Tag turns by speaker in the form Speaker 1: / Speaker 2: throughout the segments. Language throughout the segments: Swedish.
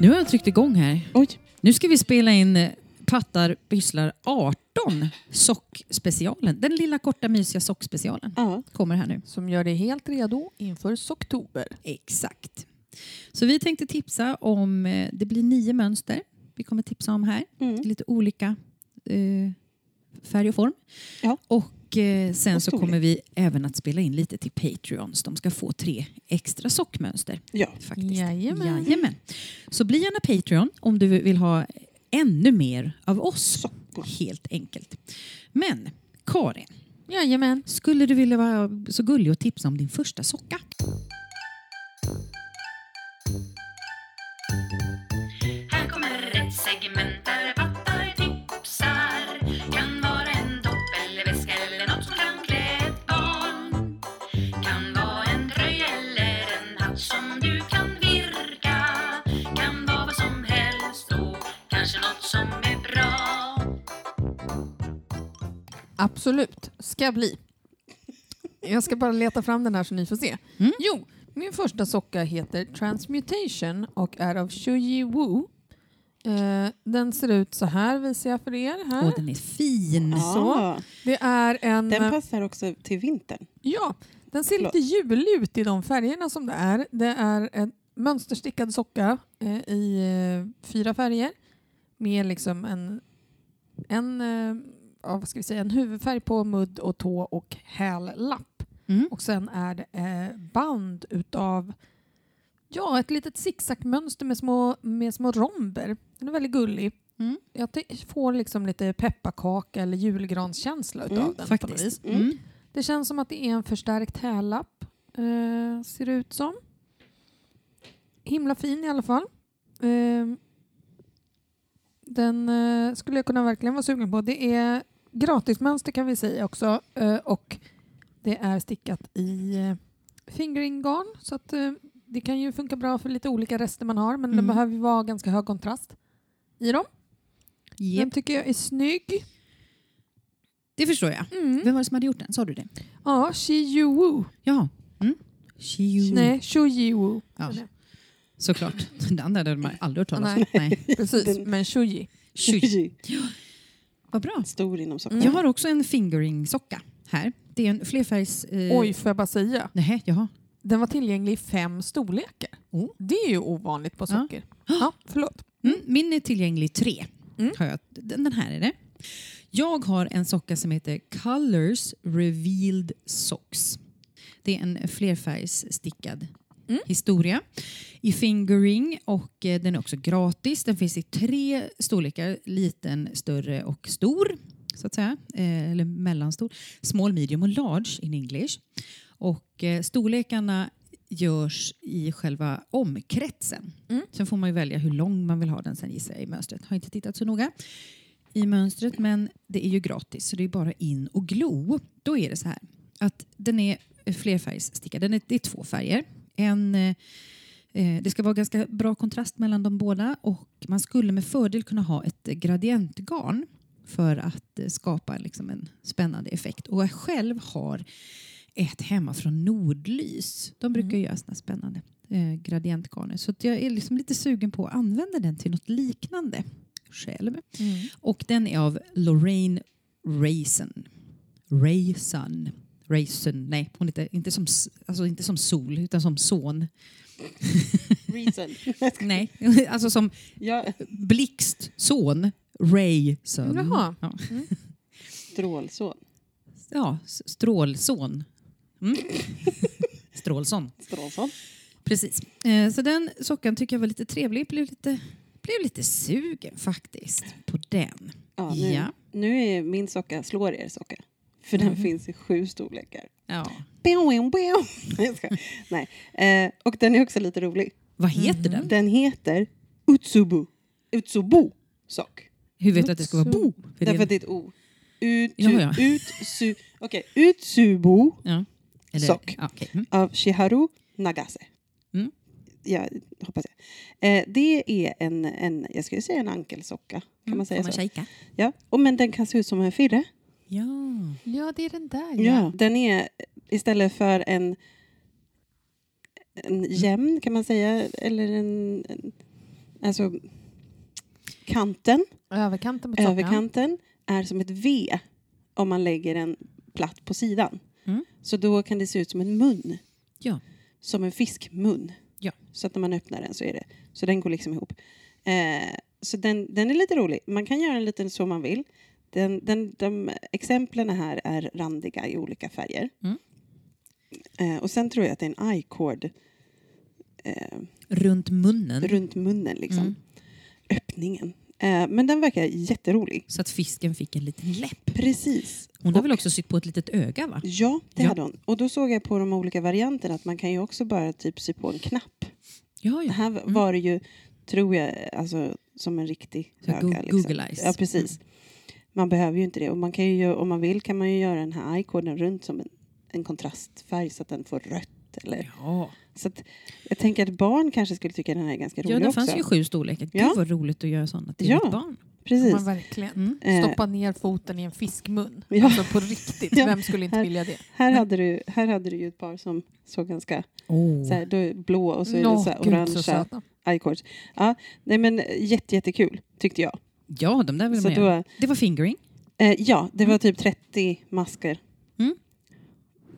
Speaker 1: Nu har jag tryckt igång här.
Speaker 2: Oj.
Speaker 1: Nu ska vi spela in eh, Pattar pysslar 18, sockspecialen. Den lilla korta mysiga sockspecialen
Speaker 2: Ja.
Speaker 1: kommer här nu.
Speaker 3: Som gör dig helt redo inför Socktober.
Speaker 1: Exakt. Så vi tänkte tipsa om, eh, det blir nio mönster vi kommer tipsa om här.
Speaker 2: Mm.
Speaker 1: Lite olika eh, färg och form.
Speaker 2: Ja.
Speaker 1: Och eh, sen
Speaker 2: Och
Speaker 1: så
Speaker 2: storlek.
Speaker 1: kommer vi även att spela in lite till Patreons. De ska få tre extra sockmönster.
Speaker 2: ja.
Speaker 1: faktiskt.
Speaker 3: Jajamän.
Speaker 1: Jajamän. Så bli gärna Patreon om du vill ha ännu mer av oss.
Speaker 2: Sockor.
Speaker 1: Helt enkelt. Men Karin,
Speaker 3: Jajamän.
Speaker 1: skulle du vilja vara så gullig och tipsa om din första socka?
Speaker 4: Här kommer ett segment där pattar tipsar Kan vara en dopp eller väska eller något som kan klä ett barn Kan vara en tröja eller en hatt som du kan virka Kan vara vad som helst och kanske något som är bra
Speaker 3: Absolut. Ska bli. Jag ska bara leta fram den här så ni får se.
Speaker 1: Mm.
Speaker 3: Jo, min första socka heter Transmutation och är av Shuji Wu. Eh, den ser ut så här visar jag för er här.
Speaker 1: Åh, den är fin!
Speaker 2: Ja.
Speaker 3: Det är en... eh,
Speaker 2: Den passar också till vintern.
Speaker 3: Ja, den ser
Speaker 2: Förlåt.
Speaker 3: lite julig ut i de färgerna som det är. Det är en mönsterstickad socka eh, i eh, fyra färger med liksom en, en, eh, ja, vad ska vi säga, en huvudfärg på mudd och tå och hällapp.
Speaker 1: Mm.
Speaker 3: Och sen är det eh, band utav ja, ett litet zigzagmönster med små, med små romber. Den är väldigt gullig.
Speaker 1: Mm.
Speaker 3: Jag ty- får liksom lite pepparkaka eller julgranskänsla utav
Speaker 2: Mm,
Speaker 3: den på något vis.
Speaker 1: Faktiskt. Mm.
Speaker 3: Det känns som att det är en förstärkt hällapp, eh, ser det ut som. Himla fin i alla fall. Eh, den eh, skulle jag kunna verkligen vara sugen på. Det är gratismönster kan vi säga också eh, och det är stickat i eh, fingringgarn så att eh, det kan ju funka bra för lite olika rester man har men
Speaker 1: Mm.
Speaker 3: det behöver ju vara ganska hög kontrast i dem. Den
Speaker 1: Japp,
Speaker 3: tycker jag är snygg.
Speaker 1: Det förstår
Speaker 3: Mm.
Speaker 1: jag. Vem var det som hade gjort den? Sa du det?
Speaker 3: Ja, Shiyu Wu.
Speaker 1: Ja. Mm. Chiu.
Speaker 3: Nej, Shuji Wu.
Speaker 1: Ja, såklart. Den andra hade man aldrig hört talas om.
Speaker 3: Nej.
Speaker 1: Nej.
Speaker 3: Precis, men Shuji.
Speaker 1: Chiu. Vad bra.
Speaker 2: Stor inom sockor.
Speaker 1: Jag har också en fingering-socka här. Det är en flerfärgs... Eh...
Speaker 3: Oj, får jag bara säga.
Speaker 1: Nej, jaha.
Speaker 3: Den var tillgänglig i fem storlekar.
Speaker 1: Oh.
Speaker 3: Det är ju ovanligt på socker. Ja, förlåt.
Speaker 1: Mm, min är tillgänglig i tre.
Speaker 3: Mm.
Speaker 1: Har jag. Den, den här är det. Jag har en socka som heter Colors Revealed Socks. Det är en flerfärgsstickad historia i fingering och eh, den är också gratis. Den finns i tre storlekar, liten, större och stor. Så att säga. Eh, eller mellanstor. Small, medium och large in English. Och eh, storlekarna görs i själva omkretsen. Sen får man ju välja hur lång man vill ha den sen gissar jag i mönstret. Har inte tittat så noga i mönstret men det är ju gratis så det är bara in och glo. Då är det så här att den är flerfärgsstickad. Den är, det är två färger. En, eh, eh, det ska vara ganska bra kontrast mellan de båda och man skulle med fördel kunna ha ett gradientgarn för att eh, skapa liksom en spännande effekt. Och jag själv har ett hemma från Nordlys. De brukar göra såna spännande eh, gradientgarner. Så att jag är liksom lite sugen på att använda den till något liknande själv.
Speaker 3: Mm.
Speaker 1: Och den är av Lorraine Rayson. Rayson. Rayson. Nej, hon heter inte som, s- alltså inte som sol, utan som son.
Speaker 2: Reason.
Speaker 1: Nej, alltså som
Speaker 2: ja,
Speaker 1: blixt son. Rayson.
Speaker 3: Jaha.
Speaker 1: Ja,
Speaker 2: strålson.
Speaker 1: ja s- strålson. Mm. Strålson.
Speaker 2: Strålson.
Speaker 1: Precis. Eh, så den sockan tycker jag var lite trevlig. Blev lite, blev lite sugen faktiskt på den.
Speaker 2: Ja, nu,
Speaker 1: Ja. Mhm.
Speaker 2: nu är min socka, slår er socka. För den finns i sju storlekar.
Speaker 1: Ja.
Speaker 2: Pew, pew, pew. Nej, jag skojar. Nej. Eh, och den är också lite rolig.
Speaker 1: Vad heter den?
Speaker 2: Den heter Utsubu. Utsubu sock.
Speaker 1: Hur vet du att det ska vara bo? För det är-
Speaker 2: Därför att det är ett O. Ut,
Speaker 1: Ja, ja.
Speaker 2: utsu, okej, Utsubu
Speaker 1: ja. Eller,
Speaker 2: Sock.
Speaker 1: Ja, okej. Mm.
Speaker 2: av Shiharu Nagase.
Speaker 1: Mm.
Speaker 2: Ja, hoppas jag. Eh, det är en, en, jag skulle säga en ankelsocka. Kan man säga
Speaker 1: Mm, Får man
Speaker 2: så?
Speaker 1: kika?
Speaker 2: Ja. Och, men den kan se ut som en firre.
Speaker 1: Ja.
Speaker 3: Mm. Ja, det är den där.
Speaker 2: Ja. Den är istället för en, en jämn kan man säga, eller en, en Alltså, kanten,
Speaker 3: Överkanten på sockan.
Speaker 2: överkanten, är som ett V om man lägger den platt på sidan.
Speaker 1: Mm.
Speaker 2: Så då kan det se ut som en mun,
Speaker 1: Ja.
Speaker 2: som en fiskmun.
Speaker 1: Ja.
Speaker 2: Så att när man öppnar den så är det, så den går liksom ihop. Eh, så den, den är lite rolig. Man kan göra den lite så man vill. Den, den, de exemplen här är randiga i olika färger.
Speaker 1: Mm.
Speaker 2: Eh, och sen tror jag att det är en i-cord eh,
Speaker 1: Runt munnen
Speaker 2: runt munnen liksom.
Speaker 1: Mm.
Speaker 2: Öppningen. Eh, men den verkar jätterolig.
Speaker 1: så att fisken fick en liten läpp.
Speaker 2: Precis.
Speaker 1: Hon har väl också sytt på ett litet öga va?
Speaker 2: Ja, det
Speaker 1: Ja.
Speaker 2: hade hon. Och då såg jag på de olika varianterna att man kan ju också bara typ sy på en knapp.
Speaker 1: Ja,
Speaker 2: Det
Speaker 1: ja.
Speaker 2: här var det ju, tror jag, alltså, som en riktig
Speaker 1: Så
Speaker 2: öga.
Speaker 1: go-
Speaker 2: liksom.
Speaker 1: Google eyes.
Speaker 2: Ja, precis. Man behöver ju inte det. Och man kan ju, gö- om man vill kan man ju göra den här i-koden runt som en, en kontrastfärg så att den får rött. Eller.
Speaker 1: Ja,
Speaker 2: Så att, jag tänker att barn kanske skulle tycka den här är ganska rolig
Speaker 1: ja det
Speaker 2: också.
Speaker 1: fanns ju sju storlekar. Gud
Speaker 2: Ja.
Speaker 1: vad roligt att göra sådana till
Speaker 2: Ja.
Speaker 1: ett barn.
Speaker 2: Precis.
Speaker 3: Man verkligen.
Speaker 1: Mm.
Speaker 2: Eh,
Speaker 3: Stoppa ner foten i en fiskmun.
Speaker 2: Ja.
Speaker 3: Alltså på riktigt,
Speaker 2: Ja.
Speaker 3: vem skulle inte
Speaker 2: Här-
Speaker 3: vilja det?
Speaker 2: här, hade du, här hade du ju ett par som såg ganska
Speaker 1: Oh.
Speaker 2: så här, då är det blå och så är det
Speaker 3: Nå,
Speaker 2: så här
Speaker 3: gud,
Speaker 2: orangea
Speaker 3: söta.
Speaker 2: i-cords. Ja, nej men jätte, jättekul tyckte jag.
Speaker 1: Ja, de där vill
Speaker 2: Så
Speaker 1: man göra.
Speaker 2: då,
Speaker 1: Det var fingering.
Speaker 2: Eh, ja, det var typ 30 masker.
Speaker 1: Mm.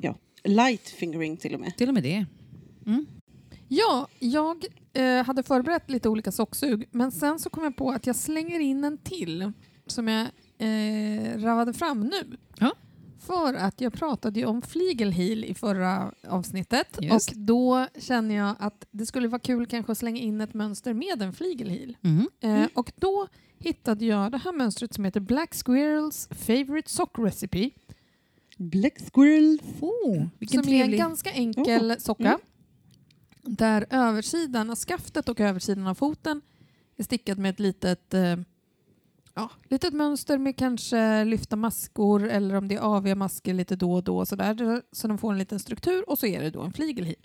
Speaker 2: Ja. Light fingering till och med.
Speaker 1: Till och med det. Mm.
Speaker 3: Ja, jag eh, hade förberett lite olika socksug, men sen så kom jag på att jag slänger in en till som jag eh, ravade fram nu.
Speaker 1: Ja.
Speaker 3: För att jag pratade ju om fligelheel i förra avsnittet
Speaker 1: Just.
Speaker 3: och då känner jag att det skulle vara kul kanske att slänga in ett mönster med en fligelheel.
Speaker 1: Mhm.
Speaker 3: Eh, Och då hittade jag det här mönstret som heter Black Squirrels Favorite Sock Recipe.
Speaker 2: Black squirrel.
Speaker 1: Oh, vilken
Speaker 3: som är en
Speaker 1: trevlig. Oh. Mm.
Speaker 3: ganska enkel socka. Där översidan av skaftet och översidan av foten är stickad med ett litet, eh, ja, litet mönster med kanske lyfta maskor eller om det är aviga masker lite då och då. Sådär, så de får en liten struktur och så är det då en fligelhil.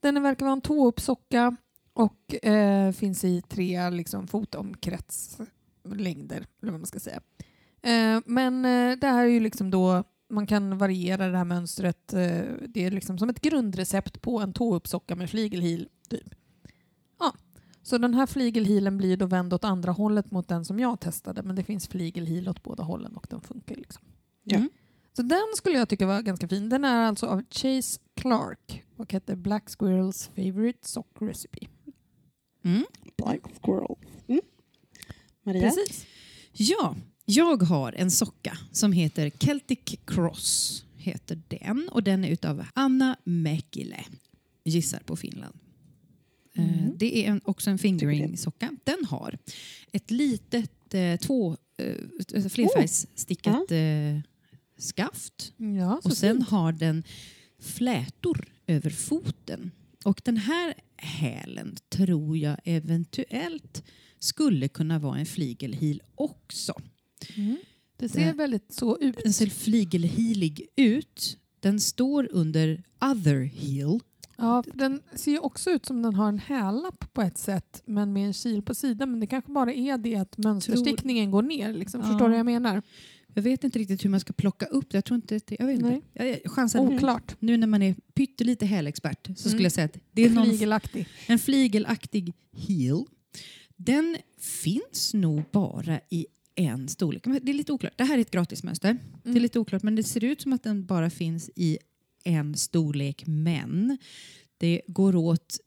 Speaker 3: Den verkar vara en tåuppsocka och eh, finns i tre liksom, fotomkretslängder. Eller vad man ska säga. Eh, men eh, det här är ju liksom då man kan variera det här mönstret. eh, Det är liksom som ett grundrecept på en tåuppsocka med fligelhil. Typ. Ja. Så den här fligelhilen blir ju då vänd åt andra hållet mot den som jag testade men det finns fligelhil åt båda hållen och den funkar. liksom.
Speaker 2: Ja.
Speaker 1: Mm.
Speaker 3: Så den skulle jag tycka var ganska fin. Den är alltså av Chase Clark och heter Black Squirrels Favorite Sock Recipe.
Speaker 1: Mm.
Speaker 2: Black squirrel. Mm. Maria?
Speaker 3: Precis.
Speaker 1: Ja, jag har en socka som heter Celtic Cross. Heter den och den är utav Anna Mäkilä. Gissar på Finland. Eh,
Speaker 3: Mhm.
Speaker 1: Det är en, också en fingering-socka. Den har ett litet eh, två, eh, flerfärgsstickat eh, skaft.
Speaker 3: Ja, så
Speaker 1: Och sen
Speaker 3: fint.
Speaker 1: har den flätor över foten. Och den här hälen tror jag eventuellt skulle kunna vara en fligelhil också.
Speaker 3: Mm. Det ser
Speaker 1: Det-
Speaker 3: väldigt så ut.
Speaker 1: Den ser fligelhilig ut. Den står under other heel.
Speaker 3: Ja, för den ser ju också ut som den har en hällapp på ett sätt men med en kil på sidan. Men det kanske bara är det att mönsterstickningen går ner. Liksom.
Speaker 1: Ja.
Speaker 3: Förstår du vad jag menar?
Speaker 1: Jag vet inte riktigt hur man ska plocka upp det. Jag tror inte att det, jag vet inte.
Speaker 3: Nej.
Speaker 1: Jag, jag chansar.
Speaker 3: Oklart.
Speaker 1: Nu när man är pyttelite hälexpert så skulle
Speaker 3: Mm.
Speaker 1: jag säga att det är någon
Speaker 3: Fligelaktig.
Speaker 1: En fligelaktig heel. Den finns nog bara i en storlek. Men Det är lite oklart. Det här är ett gratismönster.
Speaker 3: Mm.
Speaker 1: Det är lite oklart, men det ser ut som att den bara finns i en storlek. Men det går åt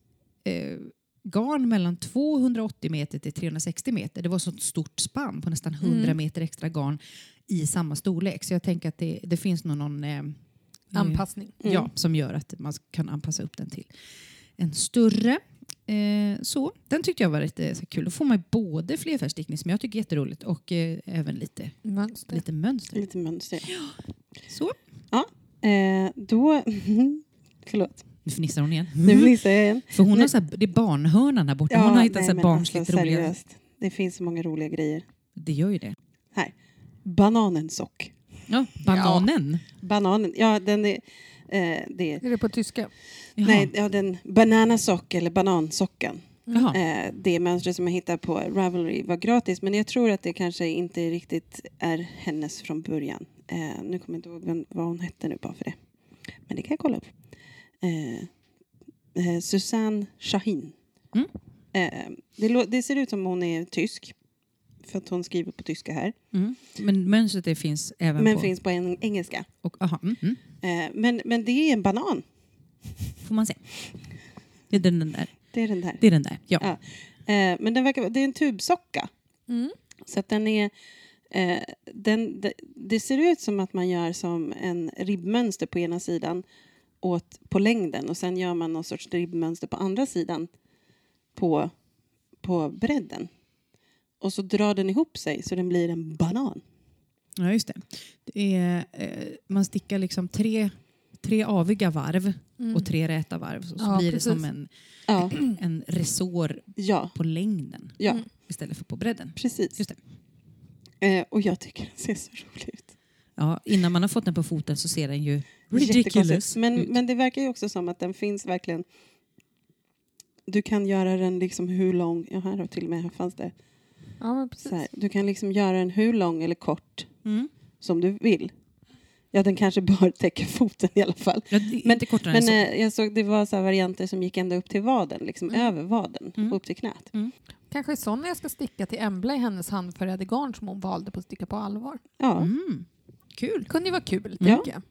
Speaker 1: eh, garn mellan 280 meter till 360 meter. Det var så ett stort spann på nästan 100
Speaker 3: Mm.
Speaker 1: meter extra garn i samma storlek. Så jag tänker att det, det finns nog någon... Eh, eh,
Speaker 3: Anpassning.
Speaker 2: Mm.
Speaker 1: Ja, som gör att man kan anpassa upp den till en större. Eh, så, den tyckte jag var lite så här kul. Då får man både flerfärgstickning som jag tycker är jätteroligt och eh, även lite,
Speaker 3: Mönster.
Speaker 1: lite mönster.
Speaker 2: Lite mönster.
Speaker 1: Så,
Speaker 2: Eh, då... Förlåt,
Speaker 1: nu fnissar hon igen.
Speaker 2: nu fnissar jag igen.
Speaker 1: För hon har
Speaker 2: Nej.
Speaker 1: så här, det är barnhörnan här borta. Mm. hon har hittat
Speaker 2: nej,
Speaker 1: så här
Speaker 2: men
Speaker 1: barnsligt
Speaker 2: alltså,
Speaker 1: roliga...
Speaker 2: seriöst. Det finns så många roliga grejer.
Speaker 1: Det gör ju det.
Speaker 2: Bananensock.
Speaker 1: Ja, bananen.
Speaker 2: Bananen, ja den är... Eh, det är
Speaker 3: Är det på tyska?
Speaker 1: Jaha.
Speaker 2: nej, ja, den bananasock eller banansockan.
Speaker 1: Jaha.
Speaker 2: Eh, det mönstret som jag hittade på Ravelry var gratis men jag tror att det kanske inte riktigt är hennes från början. Eh, nu kommer jag inte ihåg vem, vad hon hette nu bara för det. Men det kan jag kolla upp. Eh, eh, Susanne Shahin.
Speaker 1: Mm.
Speaker 2: Eh, det, lå- det ser ut som hon är tysk, för att hon skriver på tyska här.
Speaker 1: Mm. Men mönstret det finns även
Speaker 2: Men
Speaker 1: på...
Speaker 2: finns på en engelska.
Speaker 1: Och, aha, mm, mm.
Speaker 2: Eh, men, men det är en banan.
Speaker 1: Får man se. Det är den, den där.
Speaker 2: Det är den där.
Speaker 1: Det är den där, ja.
Speaker 2: Ja. Eh, men den verkar, vara- det är en tubsocka.
Speaker 3: Mm.
Speaker 2: Så att den är... Eh, den, det, det ser ut som att man gör som en ribbmönster på ena sidan åt, på längden och sen gör man någon sorts ribbmönster på andra sidan på, på bredden. Och så drar den ihop sig så den blir en banan.
Speaker 1: Ja, just det. det är, eh, man stickar liksom tre, tre aviga varv
Speaker 3: mm.
Speaker 1: och tre räta varv. Så, så
Speaker 3: Ja,
Speaker 1: blir
Speaker 3: precis.
Speaker 1: det som en,
Speaker 2: Mm. Ja,
Speaker 1: en resår
Speaker 2: ja,
Speaker 1: på längden
Speaker 2: ja
Speaker 3: Mm.
Speaker 1: istället för på bredden.
Speaker 2: precis.
Speaker 1: Just
Speaker 2: Eh, och jag tycker den ser så rolig ut.
Speaker 1: Ja, innan man har fått den på foten så ser den ju ridiculous
Speaker 2: Jättekonstigt. Men,
Speaker 1: ut.
Speaker 2: men det verkar ju också som att den finns verkligen. Du kan göra den liksom hur lång, ja här har till och med, här fanns det.
Speaker 3: Ja, men precis.
Speaker 2: Så här, du kan liksom göra den hur lång eller kort
Speaker 1: Mm.
Speaker 2: som du vill. Ja, den kanske bör täcka foten i alla fall.
Speaker 1: Ja, det är
Speaker 2: Men-
Speaker 1: inte kortare än
Speaker 2: Men
Speaker 1: så.
Speaker 2: eh, jag såg det var så här varianter som gick ända upp till vaden, liksom över vaden,
Speaker 1: Mm.
Speaker 2: upp till knät.
Speaker 3: Kanske sån jag ska sticka till Embla i hennes handfärgade garn som hon valde på att sticka på allvar.
Speaker 2: Ja,
Speaker 1: Mm. Kul.
Speaker 3: Det kunde ju vara kul,
Speaker 2: Ja.
Speaker 3: tänker jag.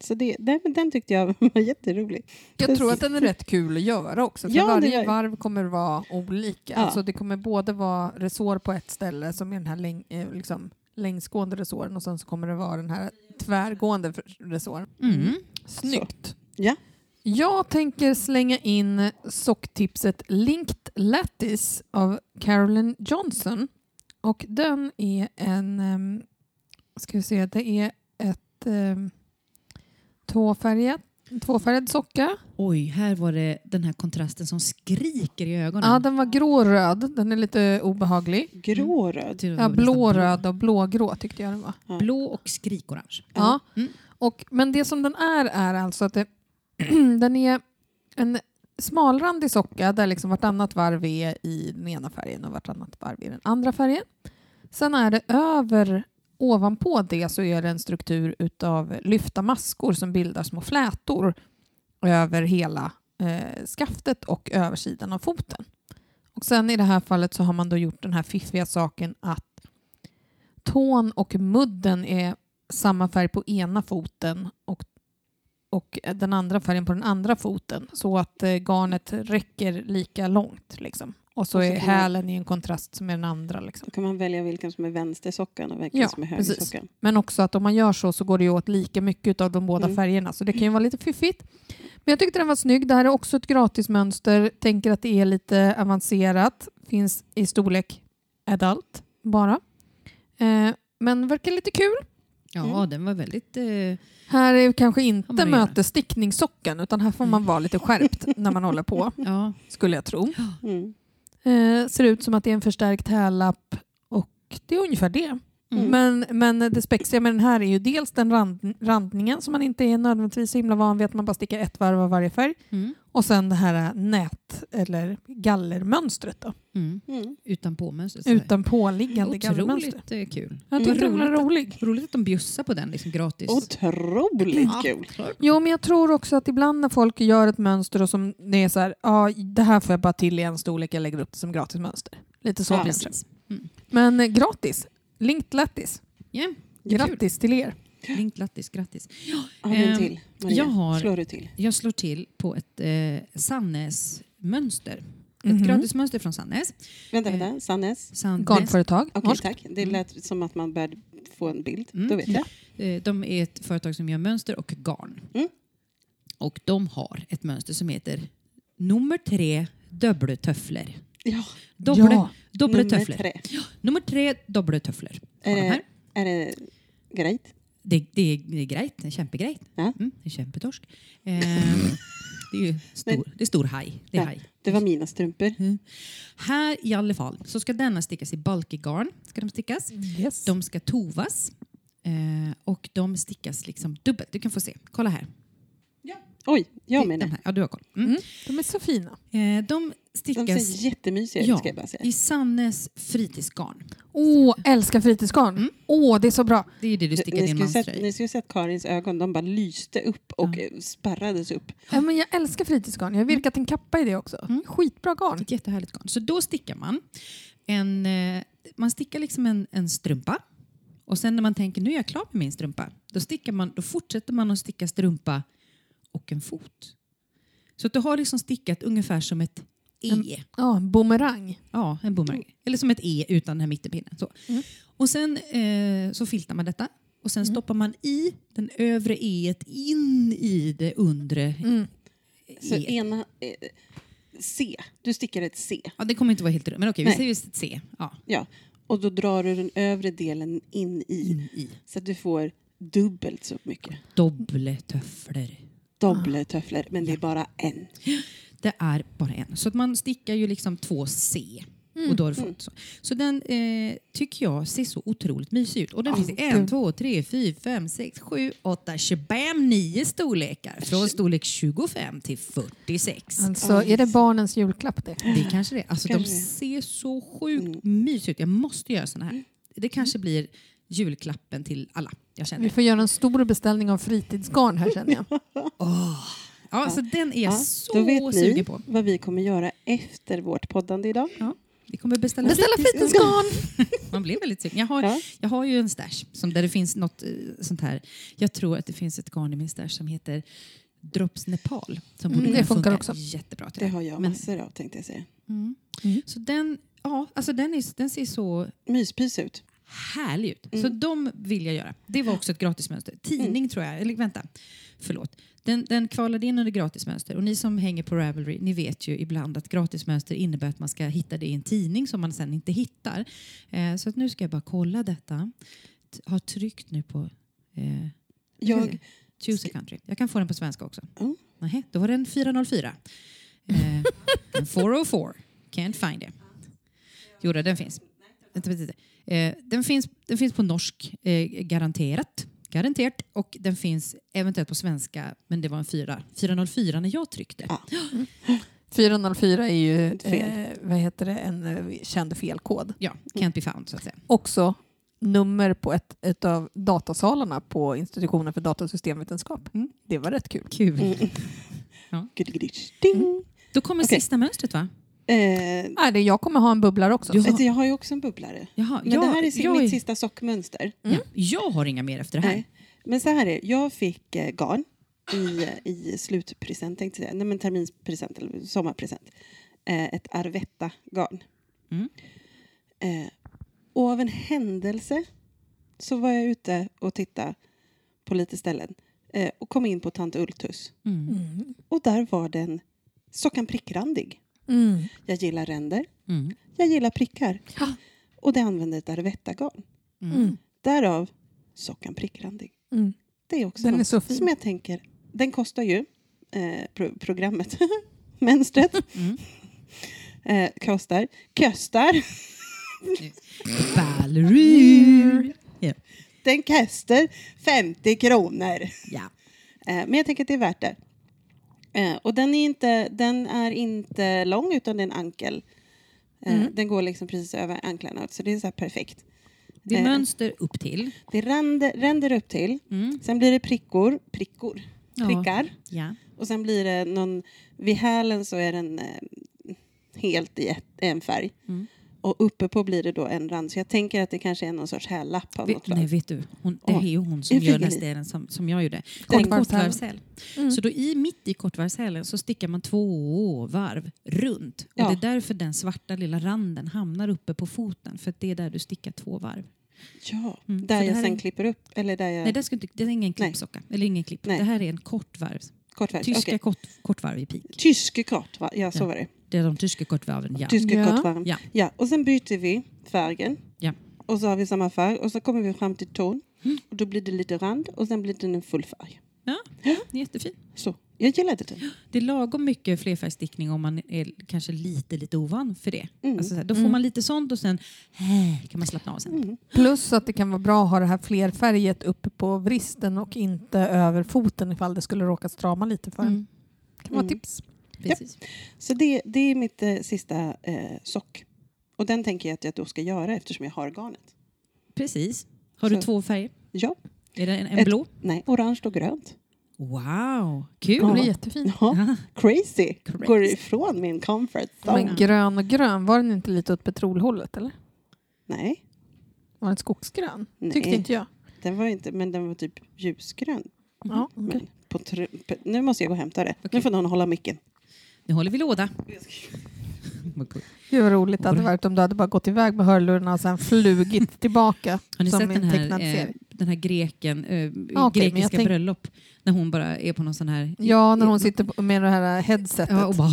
Speaker 2: så det, den, den tyckte jag var jätterolig.
Speaker 3: Jag tror att den är rätt kul att göra också. För
Speaker 2: Ja, det
Speaker 3: varje
Speaker 2: gör-
Speaker 3: varv kommer vara olika.
Speaker 2: Ja.
Speaker 3: Alltså det kommer både vara resår på ett ställe som är den här läng, eh, liksom, längsgående resåren och sen så kommer det vara den här tvärgående för- resåren.
Speaker 1: Mm.
Speaker 3: Snyggt.
Speaker 2: Ja.
Speaker 3: Jag tänker slänga in socktipset Linked Lattice av Carolyn Johnson. Och den är en... ehm, Ska vi se, det är ett ehm, tvåfärgat, tvåfärgad socka.
Speaker 1: Oj, här var det den här kontrasten som skriker i ögonen.
Speaker 3: Ja, den var grå-röd. Den är lite obehaglig.
Speaker 1: Mm.
Speaker 2: Gråröd.
Speaker 1: Till-
Speaker 3: Ja,
Speaker 1: nästan
Speaker 3: blå-röd och blågrå tyckte jag den var.
Speaker 1: blå. Blå och skrikorange.
Speaker 3: Ja.
Speaker 1: Mm.
Speaker 3: Och, men det som den är är alltså att det, den är en smalrandig socka där liksom vartannat varv är i den ena färgen och vartannat varv i den andra färgen. Sen är det över, ovanpå det så är det en struktur utav lyfta maskor som bildar små flätor över hela eh, skaftet och översidan av foten. Och sen i det här fallet så har man då gjort den här fiffiga saken att tån och mudden är samma färg på ena foten och, och den andra färgen på den andra foten så att eh, garnet räcker lika långt. Liksom. Och så
Speaker 2: Och så
Speaker 3: är
Speaker 2: kan man-
Speaker 3: hälen i en kontrast som är den andra. Liksom.
Speaker 2: Då kan man välja vilken som är vänstersockan och vilken
Speaker 3: Ja,
Speaker 2: som är
Speaker 3: precis.
Speaker 2: högersockan.
Speaker 3: Men också att om man gör så så går det ju åt lika mycket av de båda
Speaker 2: Mm.
Speaker 3: färgerna så det kan ju vara lite fiffigt. Men jag tyckte den var snygg. Det här är också ett gratismönster. Tänker att det är lite avancerat. Finns i storlek adult bara. Eh, men verkar lite kul.
Speaker 1: Ja,
Speaker 2: Mm.
Speaker 1: den var väldigt... Eh,
Speaker 3: Här är kanske
Speaker 1: man
Speaker 3: inte
Speaker 1: göra.
Speaker 3: mötesstickningssocken utan här får man vara lite skärpt när man håller på
Speaker 1: ja.
Speaker 3: skulle jag tro.
Speaker 2: Mm.
Speaker 3: Eh, ser ut som att det är en förstärkt hällapp och det är ungefär det.
Speaker 1: Mm.
Speaker 3: Men, men det spexiga med den här är ju dels den rand, randningen som man inte är nödvändigtvis så himla van vid att man bara stickar ett varv av varje färg.
Speaker 1: Mm.
Speaker 3: Och sen det här nät eller gallermönstret då.
Speaker 1: Mm.
Speaker 2: Mm.
Speaker 1: Utan påmönstret.
Speaker 3: Utan påliggande gallermönster.
Speaker 1: Otroligt eh, kul.
Speaker 3: Jag tyckte den var
Speaker 1: Roligt.
Speaker 3: rolig.
Speaker 1: Roligt att de bjussar på den liksom gratis.
Speaker 2: Otroligt
Speaker 1: Ja,
Speaker 2: kul!
Speaker 1: klart.
Speaker 3: Jo, men jag tror också att ibland när folk gör ett mönster och som det är så här, ja, det här får jag bara till i en storlek, jag lägger upp det som gratismönster. Lite så
Speaker 2: Ja,
Speaker 3: kanske.
Speaker 1: precis.
Speaker 3: Men eh, gratis. Linked lattice.
Speaker 1: Mm. Ja,
Speaker 3: Grattis till er.
Speaker 1: Link Lattis, grattis.
Speaker 2: Har du en
Speaker 1: Ehm,
Speaker 2: till? Maria?
Speaker 1: jag har-
Speaker 2: Slår du till?
Speaker 1: Jag slår till på ett eh, Sannes-mönster.
Speaker 3: Mhm.
Speaker 1: Ett gratismönster från Sannes.
Speaker 2: Vänta,
Speaker 1: Eh,
Speaker 2: vänta. Sannes?
Speaker 1: Sannes
Speaker 3: Garnföretag.
Speaker 2: Okej,
Speaker 3: Norsk.
Speaker 2: tack. Det lät som att man började få en bild.
Speaker 1: Mm.
Speaker 2: Då vet jag.
Speaker 1: eh, de är ett företag som gör mönster och garn.
Speaker 2: Mm.
Speaker 1: Och de har ett mönster som heter nummer tre, dubbeltöffler.
Speaker 2: Ja.
Speaker 1: Dobble,
Speaker 3: Ja.
Speaker 2: Nummer
Speaker 1: dubbeltöffler.
Speaker 2: tre.
Speaker 1: Nummer tre, dubbeltöffler. Har
Speaker 2: Är
Speaker 1: de här.
Speaker 2: det, är det grejt?
Speaker 1: Det, det, är, det är grejt, det är kämpegrejt.
Speaker 2: Ja.
Speaker 1: Mm, det är kämpetorsk. Eh, det är ju stor, det är stor haj. Det är
Speaker 2: Ja,
Speaker 1: haj.
Speaker 2: det var mina strumpor.
Speaker 1: Här i alla fall så ska denna stickas i bulkygarn. Ska de stickas?
Speaker 3: Yes.
Speaker 1: De ska tovas eh, och de stickas liksom dubbelt. Du kan få se. Kolla här.
Speaker 2: Oj, jag
Speaker 1: De
Speaker 2: menar.
Speaker 1: här. Ja, du har koll. Mm.
Speaker 3: De är så fina.
Speaker 1: Eh, de
Speaker 2: De ser
Speaker 1: stickas
Speaker 2: jättemysiga ut
Speaker 1: Ja.
Speaker 2: ska jag bara säga.
Speaker 1: i Sannes fritidsgarn.
Speaker 3: Åh, älskar fritidsgarn. Åh, det är så bra.
Speaker 1: Det är ju det du stickade
Speaker 2: Ni
Speaker 1: in
Speaker 2: skulle,
Speaker 1: mönster
Speaker 2: sett,
Speaker 1: i.
Speaker 2: ni skulle sett Karins ögon, de bara lyste upp och eh, spärrades upp.
Speaker 3: Ja, men jag älskar fritidsgarn. Jag har virkat en kappa i det också. Skitbra garn.
Speaker 1: Ett jättehärligt garn. Så då stickar man. En, eh, man stickar liksom en, en strumpa. Och sen när man tänker nu är jag klar med min strumpa. Då, stickar man, då fortsätter man att sticka strumpa och en fot. Så att du har liksom stickat ungefär som ett E.
Speaker 3: Ja, en bumerang.
Speaker 1: Ja, en boomerang. Eller som ett E utan den här mittenpinnen. Så. Och sen eh, så filtar man detta. Och sen stoppar man i den övre E in i det undre
Speaker 3: Mm.
Speaker 2: Så
Speaker 1: E.
Speaker 2: ena... Eh, C. Du stickar ett C.
Speaker 1: Ja, det kommer inte vara helt rätt, men okej, vi
Speaker 2: Nej.
Speaker 1: säger just ett C. Ja,
Speaker 2: Ja. Och då drar du den övre delen in i.
Speaker 1: in i.
Speaker 2: Så att du får dubbelt så mycket.
Speaker 1: Dobble töfflor.
Speaker 2: Dubbla töfflor,
Speaker 1: Ah.
Speaker 2: men det är bara en.
Speaker 1: Det är bara en. Så att man stickar ju liksom två C.
Speaker 2: Mm.
Speaker 1: Och då har du fått så. Så den eh, tycker jag ser så otroligt mysig ut. Och den finns i en, två, tre, fyra, fem, sex, sju, åtta, 25, nio storlekar. Från storlek 25 till 46.
Speaker 3: Alltså, är det barnens julklapp det?
Speaker 1: Det är kanske det. Alltså,
Speaker 2: Kanske
Speaker 1: de
Speaker 2: det. Mm.
Speaker 1: ser så sjukt mysiga ut. Jag måste göra såna här. Det kanske blir julklappen till alla. Jag känner.
Speaker 2: Mm.
Speaker 3: Vi får göra en stor beställning av fritidsgarn här känner jag.
Speaker 1: Ja, så den är jag
Speaker 2: Ja, då
Speaker 1: så
Speaker 2: vet ni
Speaker 1: sugen på.
Speaker 2: vad vi kommer göra efter vårt poddande idag.
Speaker 1: Ja, vi kommer beställa,
Speaker 3: Beställa fritidsgarn!
Speaker 1: Man blir väldigt sugen. Jag har,
Speaker 2: Ja.
Speaker 1: jag har ju en stash som där det finns något eh, sånt här. Jag tror att det finns ett garn i min stash som heter Drops Nepal. Som borde
Speaker 3: Mm, det
Speaker 1: kunna
Speaker 3: funkar
Speaker 1: funka
Speaker 3: också.
Speaker 1: jättebra till
Speaker 2: Det har jag
Speaker 1: Men-
Speaker 2: massor av tänkte jag säga.
Speaker 1: Så den, ja, alltså den, är, den ser så
Speaker 2: Myspys ut.
Speaker 1: härlig ut. Så de vill jag göra. Det var också ett gratismönster. Tidning tror jag, eller vänta, förlåt. Den, den kvalade in under gratismönster och ni som hänger på Ravelry, ni vet ju ibland att gratismönster innebär att man ska hitta det i en tidning som man sen inte hittar. Eh, så att nu ska jag bara kolla detta. T- Har tryckt nu på eh,
Speaker 2: Jag,
Speaker 1: Choose a country. Jag kan få den på svenska också.
Speaker 2: Mm.
Speaker 1: Nähä, då var den 404. Eh, en 404. Can't find it. Jo, då, den finns. Vänta, vänta, vänta. Eh, den finns. Den finns på norsk, eh, garanterat. Garanterat. Och den finns eventuellt på svenska, men det var en 4. 404 när jag tryckte.
Speaker 2: Ja.
Speaker 3: 404 är ju
Speaker 2: Fel.
Speaker 3: eh, vad heter det? en eh, känd felkod.
Speaker 1: Ja, can't be found så att säga.
Speaker 3: Också nummer på ett, ett av datasalarna på institutionen för datasystemvetenskap.
Speaker 1: Mm.
Speaker 3: Det var rätt kul.
Speaker 1: Kul.
Speaker 2: Gudigidish, ding.
Speaker 1: Mm. Då kommer
Speaker 2: Okej.
Speaker 1: sista mönstret va? Mm.
Speaker 2: Eh,
Speaker 3: Nej, det- jag kommer ha en bubblare också.
Speaker 1: Du har-
Speaker 2: alltså, jag har ju också en bubblare.
Speaker 1: Jaha,
Speaker 2: Men
Speaker 1: jag,
Speaker 2: det här är si-
Speaker 1: jag,
Speaker 2: mitt sista sockmönster.
Speaker 1: ja, jag har inga mer efter det här.
Speaker 2: Nej. Men så här är det. jag fick eh, garn i, i slutpresent, tänkte jag säga. Nej, men terminspresent eller sommarpresent. Eh, ett Arvetta-garn.
Speaker 1: Mm.
Speaker 2: Eh, och av en händelse så var jag ute och tittade på lite ställen eh, och kom in på Tant Ultus.
Speaker 1: Mm.
Speaker 3: Mm.
Speaker 2: Och där var den sockan prickrandig.
Speaker 3: Mm.
Speaker 2: Jag gillar ränder,
Speaker 1: Mm.
Speaker 2: jag gillar prickar.
Speaker 3: Ja.
Speaker 2: Och det använde ett Arvetta-garn.
Speaker 3: Mm.
Speaker 2: Därav sockan prickrandig.
Speaker 3: Mm.
Speaker 2: Det är också
Speaker 3: Den är
Speaker 2: något
Speaker 3: så fin.
Speaker 2: som jag tänker, den kostar ju, eh, pro- programmet, mönstret,
Speaker 1: Mm.
Speaker 2: eh, kostar, köstar, Mm.
Speaker 1: Valerie!
Speaker 2: den kostar 50 kronor.
Speaker 1: Ja.
Speaker 2: Eh, men jag tänker att det är värt det. Eh, och den är, inte, den är inte lång utan det är en ankel. Eh,
Speaker 1: Mm.
Speaker 2: Den går liksom precis över anklarna, så det är så här perfekt.
Speaker 1: Det är
Speaker 2: Eh.
Speaker 1: mönster upp till.
Speaker 2: Det ränder, ränder upp till,
Speaker 1: Mm.
Speaker 2: sen blir det prickor, prickor,
Speaker 1: Ja.
Speaker 2: prickar.
Speaker 1: Ja.
Speaker 2: Och sen blir det någon, vid hälen så är den eh, helt i ett, en färg.
Speaker 1: Mm.
Speaker 2: Och uppe på blir det då en rand. Så jag tänker att det kanske är någon sorts hällapp av
Speaker 1: Vi,
Speaker 2: något slag.
Speaker 1: nej, vet du. Hon, det
Speaker 2: Åh,
Speaker 1: är ju hon som
Speaker 2: jag Mm.
Speaker 1: gör
Speaker 2: fick en
Speaker 1: den här stilen
Speaker 2: i.
Speaker 1: som, som jag gjorde.
Speaker 3: Den-
Speaker 1: Den kortvarvshäl. Så då i, mitt i kortvarvshälen så stickar man två varv runt.
Speaker 2: Ja.
Speaker 1: Och det är därför den svarta lilla randen hamnar uppe på foten. För att det är där du stickar två
Speaker 2: Eh.
Speaker 1: varv.
Speaker 2: Ja,
Speaker 1: Mm,
Speaker 2: där
Speaker 1: så det
Speaker 2: jag
Speaker 1: här
Speaker 2: sen
Speaker 1: är-
Speaker 2: klipper upp. Eller där jag...
Speaker 1: Nej, det, ska inte, det är ingen
Speaker 2: Nej.
Speaker 1: klippsocka. Eller ingen klipp.
Speaker 2: Nej.
Speaker 1: Det här är en kortvarv.
Speaker 2: kortvarv.
Speaker 1: Tyska
Speaker 2: Okej.
Speaker 1: kort, kortvarv i pik.
Speaker 2: Tyske kort, va? Ja, så
Speaker 1: Ja.
Speaker 2: var det.
Speaker 1: Det är de tyska kortvarven, ja.
Speaker 2: Tyske
Speaker 3: Ja.
Speaker 2: kortvarv.
Speaker 1: Ja.
Speaker 2: ja. Och sen byter vi färgen.
Speaker 1: Ja. Mm.
Speaker 2: Och så har vi samma färg. Och så kommer vi fram till ton. Och då blir det lite rand. Och sen blir det en full färg.
Speaker 1: ja. Jättefin.
Speaker 2: Så, jag gillade den.
Speaker 1: Det är lagom mycket flerfärgstickning om man är kanske lite, lite ovan för det.
Speaker 2: Mm.
Speaker 1: Alltså så här, då får man lite sånt och sen eh, kan man slappna av sen.
Speaker 3: Mm. Plus att det kan vara bra att ha det här flerfärget uppe på vristen och inte över foten ifall det skulle råka strama lite för en.
Speaker 1: Mm.
Speaker 3: Det kan vara
Speaker 2: Mm.
Speaker 3: tips.
Speaker 1: Precis.
Speaker 2: Så det, det är mitt eh, sista eh, sock. Och den tänker jag att jag då ska göra eftersom jag har garnet.
Speaker 1: Precis. Har du
Speaker 2: Så-
Speaker 1: två färger?
Speaker 2: Ja,
Speaker 1: Är det en, en
Speaker 2: Ett-
Speaker 1: blå?
Speaker 2: nej, orange och grönt.
Speaker 1: Wow,
Speaker 3: Det blir
Speaker 1: kul!
Speaker 3: jättefint.
Speaker 1: Ja.
Speaker 2: Ja, crazy.
Speaker 1: Crazy.
Speaker 2: Går ifrån min comfort zone.
Speaker 1: Mm.
Speaker 3: Men grön och grön, var den inte lite åt petrolhållet eller?
Speaker 2: Nej,
Speaker 3: Var den skogsgrön?
Speaker 2: Nej.
Speaker 3: Tyckte inte jag.
Speaker 2: den var inte, men den var typ ljusgrön.
Speaker 1: Mm.
Speaker 3: Ja, okej.
Speaker 2: Men på tr- på, nu måste jag gå och hämta det. Nu får någon hålla micken.
Speaker 1: Nu håller vi låda.
Speaker 3: Gud vad roligt det hade varit om du hade bara gått iväg med hörlurarna och sen flugit tillbaka.
Speaker 1: Har ni
Speaker 3: som
Speaker 1: sett
Speaker 3: i
Speaker 1: den
Speaker 3: en
Speaker 1: här,
Speaker 3: tecknad
Speaker 1: eh,
Speaker 3: serie.
Speaker 1: den här greken, eh,
Speaker 3: Ja, okej, men jag
Speaker 1: grekiska
Speaker 3: tänk-
Speaker 1: bröllop? När hon bara är på någon sån här...
Speaker 3: Ja, när hon sitter på- med det här headsetet.
Speaker 1: Mm. Ja, och bara...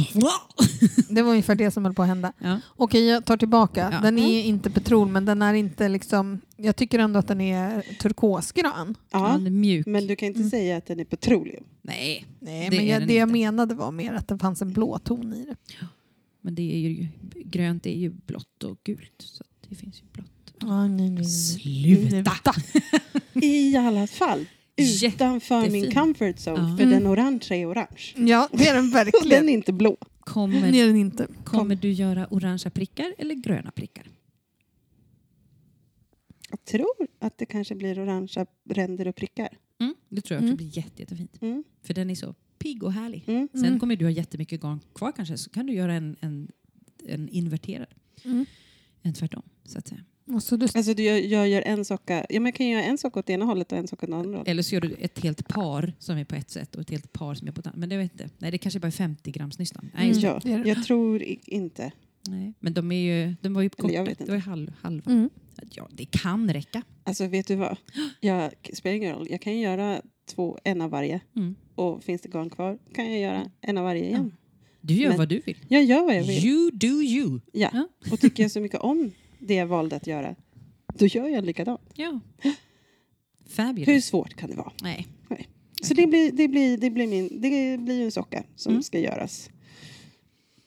Speaker 3: Det var ungefär det som höll på att hända.
Speaker 1: Ja.
Speaker 3: Okej, jag tar tillbaka.
Speaker 1: Ja.
Speaker 3: Den är inte petrol, men den är inte liksom... Jag tycker ändå att den är turkosgrön.
Speaker 2: Ja,
Speaker 1: Han är mjuk.
Speaker 2: men du kan inte säga att den är petroleum.
Speaker 1: Nej,
Speaker 3: Nej,
Speaker 1: Det
Speaker 3: men
Speaker 1: är
Speaker 3: jag,
Speaker 1: den
Speaker 3: det jag
Speaker 1: inte.
Speaker 3: menade var mer att det fanns en blå ton i det.
Speaker 1: men det är ju grönt är ju blått och gult. Så att det finns ju blått.
Speaker 3: Ah, nej, nej.
Speaker 1: Sluta!
Speaker 2: I alla fall, utanför min
Speaker 1: Jättefin.
Speaker 2: comfort zone.
Speaker 1: Ja.
Speaker 2: För
Speaker 3: Mm.
Speaker 2: den orange är orange.
Speaker 3: Ja, det är den
Speaker 2: Och den
Speaker 3: verkligen.
Speaker 2: är inte blå.
Speaker 3: Det
Speaker 1: Kommer,
Speaker 3: är den inte.
Speaker 1: kommer du göra orangea prickar eller gröna prickar?
Speaker 2: Jag tror att det kanske blir orangea ränder och prickar.
Speaker 1: Mm, det tror jag
Speaker 3: Mm.
Speaker 1: också blir jätte, jättefint.
Speaker 2: Mm.
Speaker 1: För den är så pigg och härlig.
Speaker 2: Mm.
Speaker 1: Sen
Speaker 3: Mm.
Speaker 1: kommer du ha jättemycket garn kvar kanske så kan du göra en, en, en inverterad.
Speaker 3: Mm.
Speaker 1: En tvärtom så att säga.
Speaker 3: Och så du,
Speaker 2: Alltså du, jag, jag gör en socka. Ja, men jag kan göra en socka åt ena hållet och en socka åt andra hållet.
Speaker 1: Eller så gör du ett helt par som är på ett sätt och ett helt par som är på ett annat. Men det vet jag inte. Nej, det kanske bara är 50 grams nystan. Nej,
Speaker 3: Mm.
Speaker 1: just det.
Speaker 2: Ja,
Speaker 3: det är det.
Speaker 2: jag tror i- inte.
Speaker 1: Nej. Men de, är ju, de var ju
Speaker 2: Eller jag
Speaker 1: korta.
Speaker 2: vet
Speaker 1: Det
Speaker 2: inte.
Speaker 1: var ju halv, halva.
Speaker 3: mm.
Speaker 1: Ja, det kan räcka.
Speaker 2: Alltså vet du vad? Jag, spelar ingen roll. Jag kan ju göra två, en av varje.
Speaker 1: Mm.
Speaker 2: Och finns det garn kvar kan jag göra en av varje igen.
Speaker 1: Du gör
Speaker 2: Men-
Speaker 1: vad du vill.
Speaker 2: Jag gör vad jag vill.
Speaker 1: You do you. Ja.
Speaker 2: Ja. Och tycker jag så mycket om det jag valde att göra, då gör jag likadant.
Speaker 1: Ja. Fabulous.
Speaker 2: Hur svårt kan det vara?
Speaker 1: Nej.
Speaker 2: Så det blir, det blir, det blir, min, det blir ju en socka som
Speaker 1: Mm.
Speaker 2: ska göras.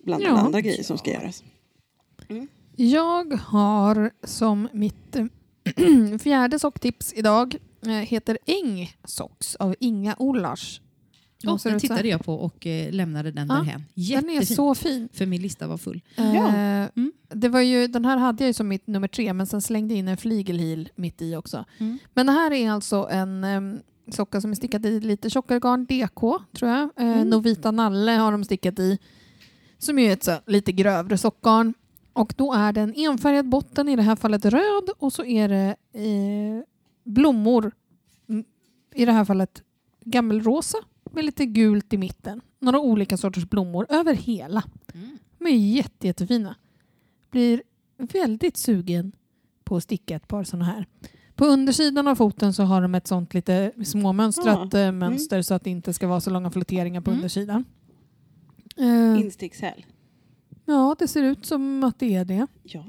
Speaker 2: Bland
Speaker 3: Ja.
Speaker 2: alla andra grejer som ska göras.
Speaker 3: Jag har som mitt eh, fjärde socktips idag eh, heter Eng Socks av Inga Ollars. De
Speaker 1: Oh,
Speaker 3: ser
Speaker 1: den
Speaker 3: ut så här.
Speaker 1: tittade jag på och eh, lämnade den
Speaker 3: Ja,
Speaker 1: därhän.
Speaker 3: Den
Speaker 1: Jättefin.
Speaker 3: är så fin.
Speaker 1: För min lista var full.
Speaker 2: Ja.
Speaker 3: Eh,
Speaker 1: Mm.
Speaker 3: Det var ju, den här hade jag ju som mitt nummer tre men sen slängde jag in en flygelhil mitt i också.
Speaker 1: Mm.
Speaker 3: Men det här är alltså en em, socka som är stickad i lite tjockare garn, DK tror jag. Eh,
Speaker 1: Mm.
Speaker 3: Novita Nalle har de stickat i. Som ju är ett så, här lite grövre sockgarn. Och då är det en enfärgad botten, i det här fallet röd och så är det eh, blommor, mm, i det här fallet gammelrosa med lite gult i mitten. Några olika sorters blommor över hela.
Speaker 1: Mm.
Speaker 3: De är jätte, jättefina. Blir väldigt sugen på att sticka ett par sådana här. På undersidan av foten så har de ett sånt lite småmönstrat eh, mönster så att det inte ska vara så långa flotteringar på
Speaker 1: Mm.
Speaker 3: undersidan. Eh,
Speaker 2: Instickshäl.
Speaker 3: ja, det ser ut som att det är det.
Speaker 2: Ja.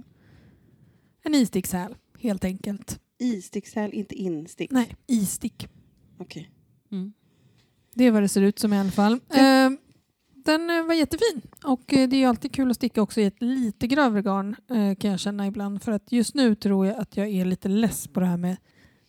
Speaker 3: En istickshäl, helt enkelt.
Speaker 2: Istickshäl, inte instick.
Speaker 3: Nej, istick.
Speaker 2: Okej.
Speaker 1: Mm.
Speaker 3: Det är vad det ser ut som i alla fall. Eh, den eh, var jättefin och eh, det är ju alltid kul att sticka också i ett lite grövre garn eh, kan jag känna ibland för att just nu tror jag att jag är lite less på det här med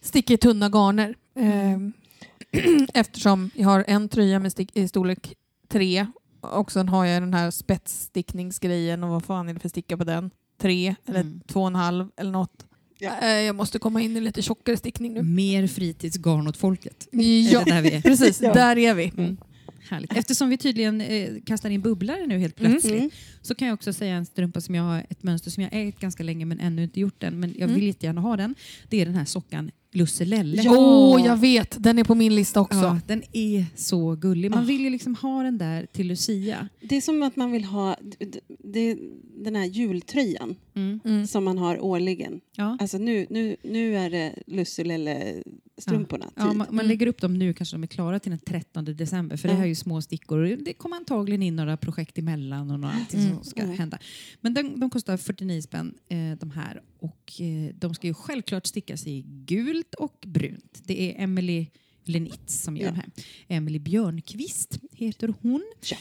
Speaker 3: sticka i tunna garner.
Speaker 1: Mm.
Speaker 3: Eh, eftersom jag har en tröja med stick i storlek tre och sen har jag den här spetsstickningsgrejen och vad fan är det för sticka på den? Tre eller
Speaker 1: Mm.
Speaker 3: två och en halv eller något.
Speaker 2: Ja.
Speaker 3: Eh, jag måste komma in i lite tjockare stickning nu.
Speaker 1: Mer fritidsgarn åt folket.
Speaker 3: Ja,
Speaker 1: Mm. Är det där vi är?
Speaker 3: precis.
Speaker 2: Ja.
Speaker 3: Där är vi.
Speaker 1: Mm. Härligt. Eftersom vi tydligen eh, kastar in bubblare nu helt
Speaker 3: Mm.
Speaker 1: plötsligt
Speaker 2: Mm.
Speaker 1: så kan jag också säga en strumpa som jag har ett mönster som jag ägt ganska länge men ännu inte gjort den. Men jag
Speaker 3: Mm.
Speaker 1: vill jättegärna ha den. Det är den här sockan Lusselelle.
Speaker 3: Åh, jag vet. Den är på min lista också.
Speaker 1: Ja, den är så gullig. Man vill ju liksom ha den där till Lucia.
Speaker 2: Det är som att man vill ha d- d- det, den här jultröjan
Speaker 1: Mm.
Speaker 3: Mm.
Speaker 2: som man har årligen.
Speaker 1: Ja.
Speaker 2: Alltså nu, nu, nu är det typ. Lussele-strumporna.
Speaker 1: Ja,
Speaker 2: tid.
Speaker 1: man, man lägger upp dem nu kanske de är klara till den 13 december för det här är ju små stickor. Det kommer antagligen in några projekt emellan och några allting som ska
Speaker 2: Mm.
Speaker 1: hända. Men de, de kostar 49 spänn eh, de här och eh, de ska ju självklart stickas i gult och brunt. Det är Emily Lenitz som gör
Speaker 2: Ja.
Speaker 1: de här. Emily Björnqvist heter hon.
Speaker 2: Ja.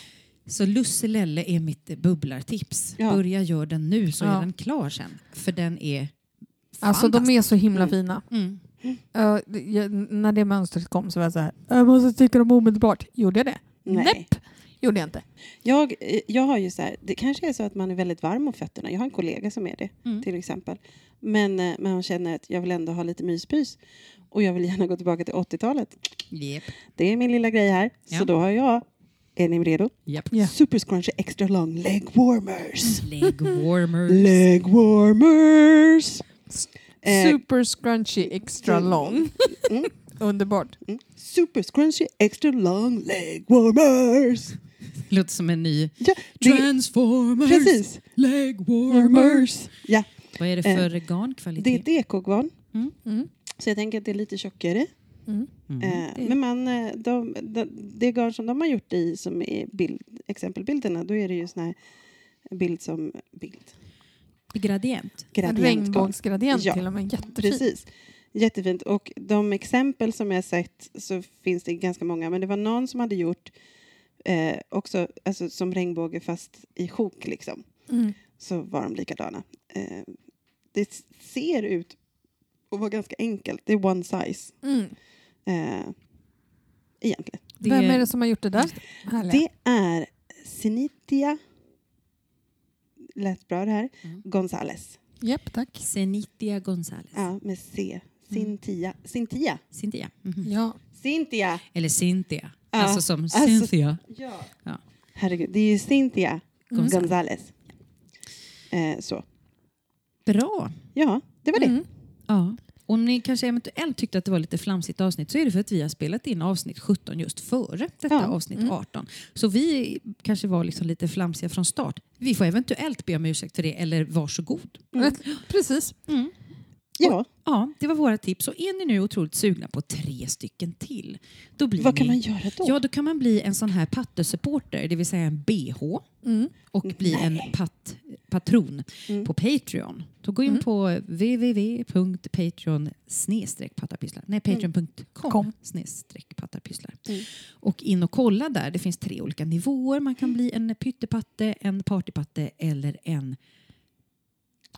Speaker 1: Så Lusselelle är mitt eh, bubblartips.
Speaker 2: Ja.
Speaker 1: Börja gör den nu så
Speaker 3: Ja.
Speaker 1: är den klar sen. För den är
Speaker 3: Alltså de
Speaker 1: fantastisk.
Speaker 3: är så himla fina.
Speaker 1: Mm.
Speaker 3: Ja, det- jag- när det mönstret kom så var jag så här, jag måste sticka dem omedelbart. Gjorde jag det?
Speaker 2: Nej.
Speaker 3: Näpp! Gjorde jag inte.
Speaker 2: Jag, eh, jag har ju så här, det kanske är så att man är väldigt varm om fötterna. Jag har en kollega som är det
Speaker 1: Mm.
Speaker 2: till exempel. Men, eh, men hon känner att jag vill ändå ha lite myspys. Och jag vill gärna gå tillbaka till 80-talet.
Speaker 1: Japp.
Speaker 2: Det är min lilla grej här.
Speaker 1: Ja.
Speaker 2: Så då har jag, är ni redo?
Speaker 1: Japp.
Speaker 3: Ja.
Speaker 2: Super Scrunchy Extra Long Leg Warmers.
Speaker 1: Leg warmers.
Speaker 2: Leg Warmers! Eh,
Speaker 3: Super scrunchy extra
Speaker 2: Mm.
Speaker 3: long.
Speaker 2: Mm.
Speaker 3: Underbart.
Speaker 2: mm. Super Scrunchy Extra Long Leg Warmers!
Speaker 1: Låter som en ny...
Speaker 2: Ja, det,
Speaker 1: Transformers.
Speaker 2: precis.
Speaker 1: Leg warmers.
Speaker 2: Ja,
Speaker 1: Vad är det för garnkvalitet?
Speaker 2: det är ett ekogran.
Speaker 3: Mm.
Speaker 2: Så jag tänker att det är lite tjockare.
Speaker 3: Mm.
Speaker 1: Mm.
Speaker 2: Eh, Men man, eh, de, de, det garn som de har gjort i som är bild, exempelbilderna, då är det ju sån här bild som bild.
Speaker 1: Gradient.
Speaker 2: Gradientgarn.
Speaker 3: Regnbågsgradient
Speaker 2: Ja.
Speaker 3: till och med. Jättefint.
Speaker 2: Precis. Jättefint. Och de exempel som jag sett så finns det ganska många. Men det var någon som hade gjort eh, också alltså, som regnbåge fast i sjok liksom.
Speaker 3: Mm.
Speaker 2: Så var de likadana. Eh, det s- ser ut att vara ganska enkelt. Det är one size
Speaker 3: Mm.
Speaker 2: eh, egentligen.
Speaker 1: Det
Speaker 3: Vem
Speaker 1: är-
Speaker 3: är det som har gjort det där? Härliga.
Speaker 2: Det är Sinitia, lät bra det här,
Speaker 1: Mm.
Speaker 2: Gonzales.
Speaker 3: Japp, tack.
Speaker 1: Zenitia Gonzales.
Speaker 2: Ja, med C. Cintia. Cintia.
Speaker 1: Cynthia. Mhm.
Speaker 3: Ja.
Speaker 2: Cynthia!
Speaker 1: Eller Cynthia.
Speaker 2: Ja,
Speaker 1: Alltså som
Speaker 2: alltså-
Speaker 1: Cynthia
Speaker 2: Ja.
Speaker 1: Ja. Mm.
Speaker 2: Herregud, det är ju Cynthia
Speaker 1: Gonzales.
Speaker 2: Gonzales. Eh, så. Mm.
Speaker 1: Bra.
Speaker 2: Ja, det var det.
Speaker 3: Mm.
Speaker 1: Ja. Om ni kanske eventuellt tyckte att det var lite flamsigt avsnitt så är det för att vi har spelat in avsnitt 17 just före detta
Speaker 2: Ja. Mm.
Speaker 1: avsnitt 18. Så vi kanske var liksom lite flamsiga från start. Vi får eventuellt be om ursäkt för det, eller varsågod.
Speaker 3: Precis.
Speaker 2: Ja,
Speaker 1: Ja, det var våra tips. Och är ni nu otroligt sugna på tre stycken till, då blir
Speaker 2: vad kan
Speaker 1: ni...
Speaker 2: man göra då?
Speaker 1: Mm. Ja, då kan man bli en sån här pattesupporter, det vill säga en BH.
Speaker 3: Mm.
Speaker 1: och bli en pat, patron
Speaker 2: Mm.
Speaker 1: på Patreon. Då gå in
Speaker 3: Mm.
Speaker 1: på www.patreon pattarpysslar. Nej, patreon.com
Speaker 3: Kom.
Speaker 1: snedstreck pattarpysslar.
Speaker 2: Mm.
Speaker 1: Och in och kolla där. Det finns tre olika nivåer. Man kan bli en pyttepatte, en partypatte eller en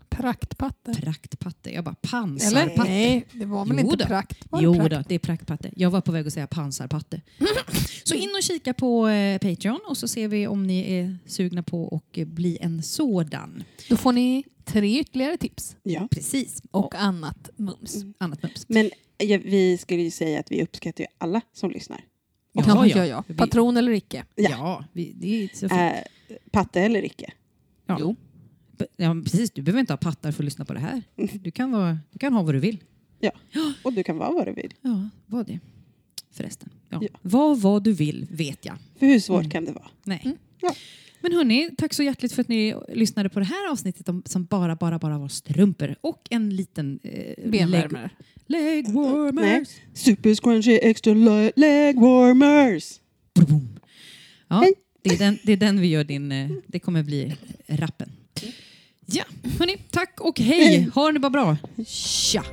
Speaker 3: Praktpatte.
Speaker 1: praktpatte. Jag bara
Speaker 3: Eller?
Speaker 1: pansarpatte.
Speaker 3: Nej, det var väl
Speaker 1: Jo
Speaker 3: inte
Speaker 1: då.
Speaker 3: prakt? Var det
Speaker 1: Jo
Speaker 3: prakt?
Speaker 1: då, det är praktpatte. Jag var på väg att säga pansarpatte. så in och kika på eh, Patreon och så ser vi om ni är sugna på att eh, bli en sådan.
Speaker 3: Då får ni tre ytterligare tips.
Speaker 2: Ja.
Speaker 1: Precis.
Speaker 3: Och annat mums.
Speaker 1: annat mums.
Speaker 2: Men ja, vi skulle ju säga att vi uppskattar ju alla som lyssnar.
Speaker 3: Ja, ja, ja. Patron eller icke.
Speaker 1: Ja,
Speaker 2: Ja.
Speaker 1: vi, det är så fint.
Speaker 2: Eh, patte eller icke.
Speaker 1: ja.
Speaker 3: jo.
Speaker 1: B- Ja, men precis. Du behöver inte ha pattar för att lyssna på det här. Du kan, vara, du kan ha vad du vill.
Speaker 2: Och du kan vara vad du vill.
Speaker 1: Ja, vad det. Förresten. Ja.
Speaker 2: Ja.
Speaker 1: Vad, vad du vill vet jag.
Speaker 2: För hur svårt
Speaker 1: Mm.
Speaker 2: kan det vara?
Speaker 1: Nej.
Speaker 2: Mm, Ja.
Speaker 1: Men hörni, tack så hjärtligt för att ni lyssnade på det här avsnittet om, som bara, bara, bara var strumpor och en liten eh,
Speaker 3: Benvärmare.
Speaker 1: leg, leg
Speaker 2: Nej.
Speaker 1: warmers.
Speaker 2: Super scrunchy extra lo- leg warmers.
Speaker 1: Boom. Ja,
Speaker 2: Hej.
Speaker 1: det, är den, det är den vi gör din... eh, Det kommer bli
Speaker 2: Mm.
Speaker 1: rappen. Ja, hörni, tack och hej. Ha det bara bra. Tja!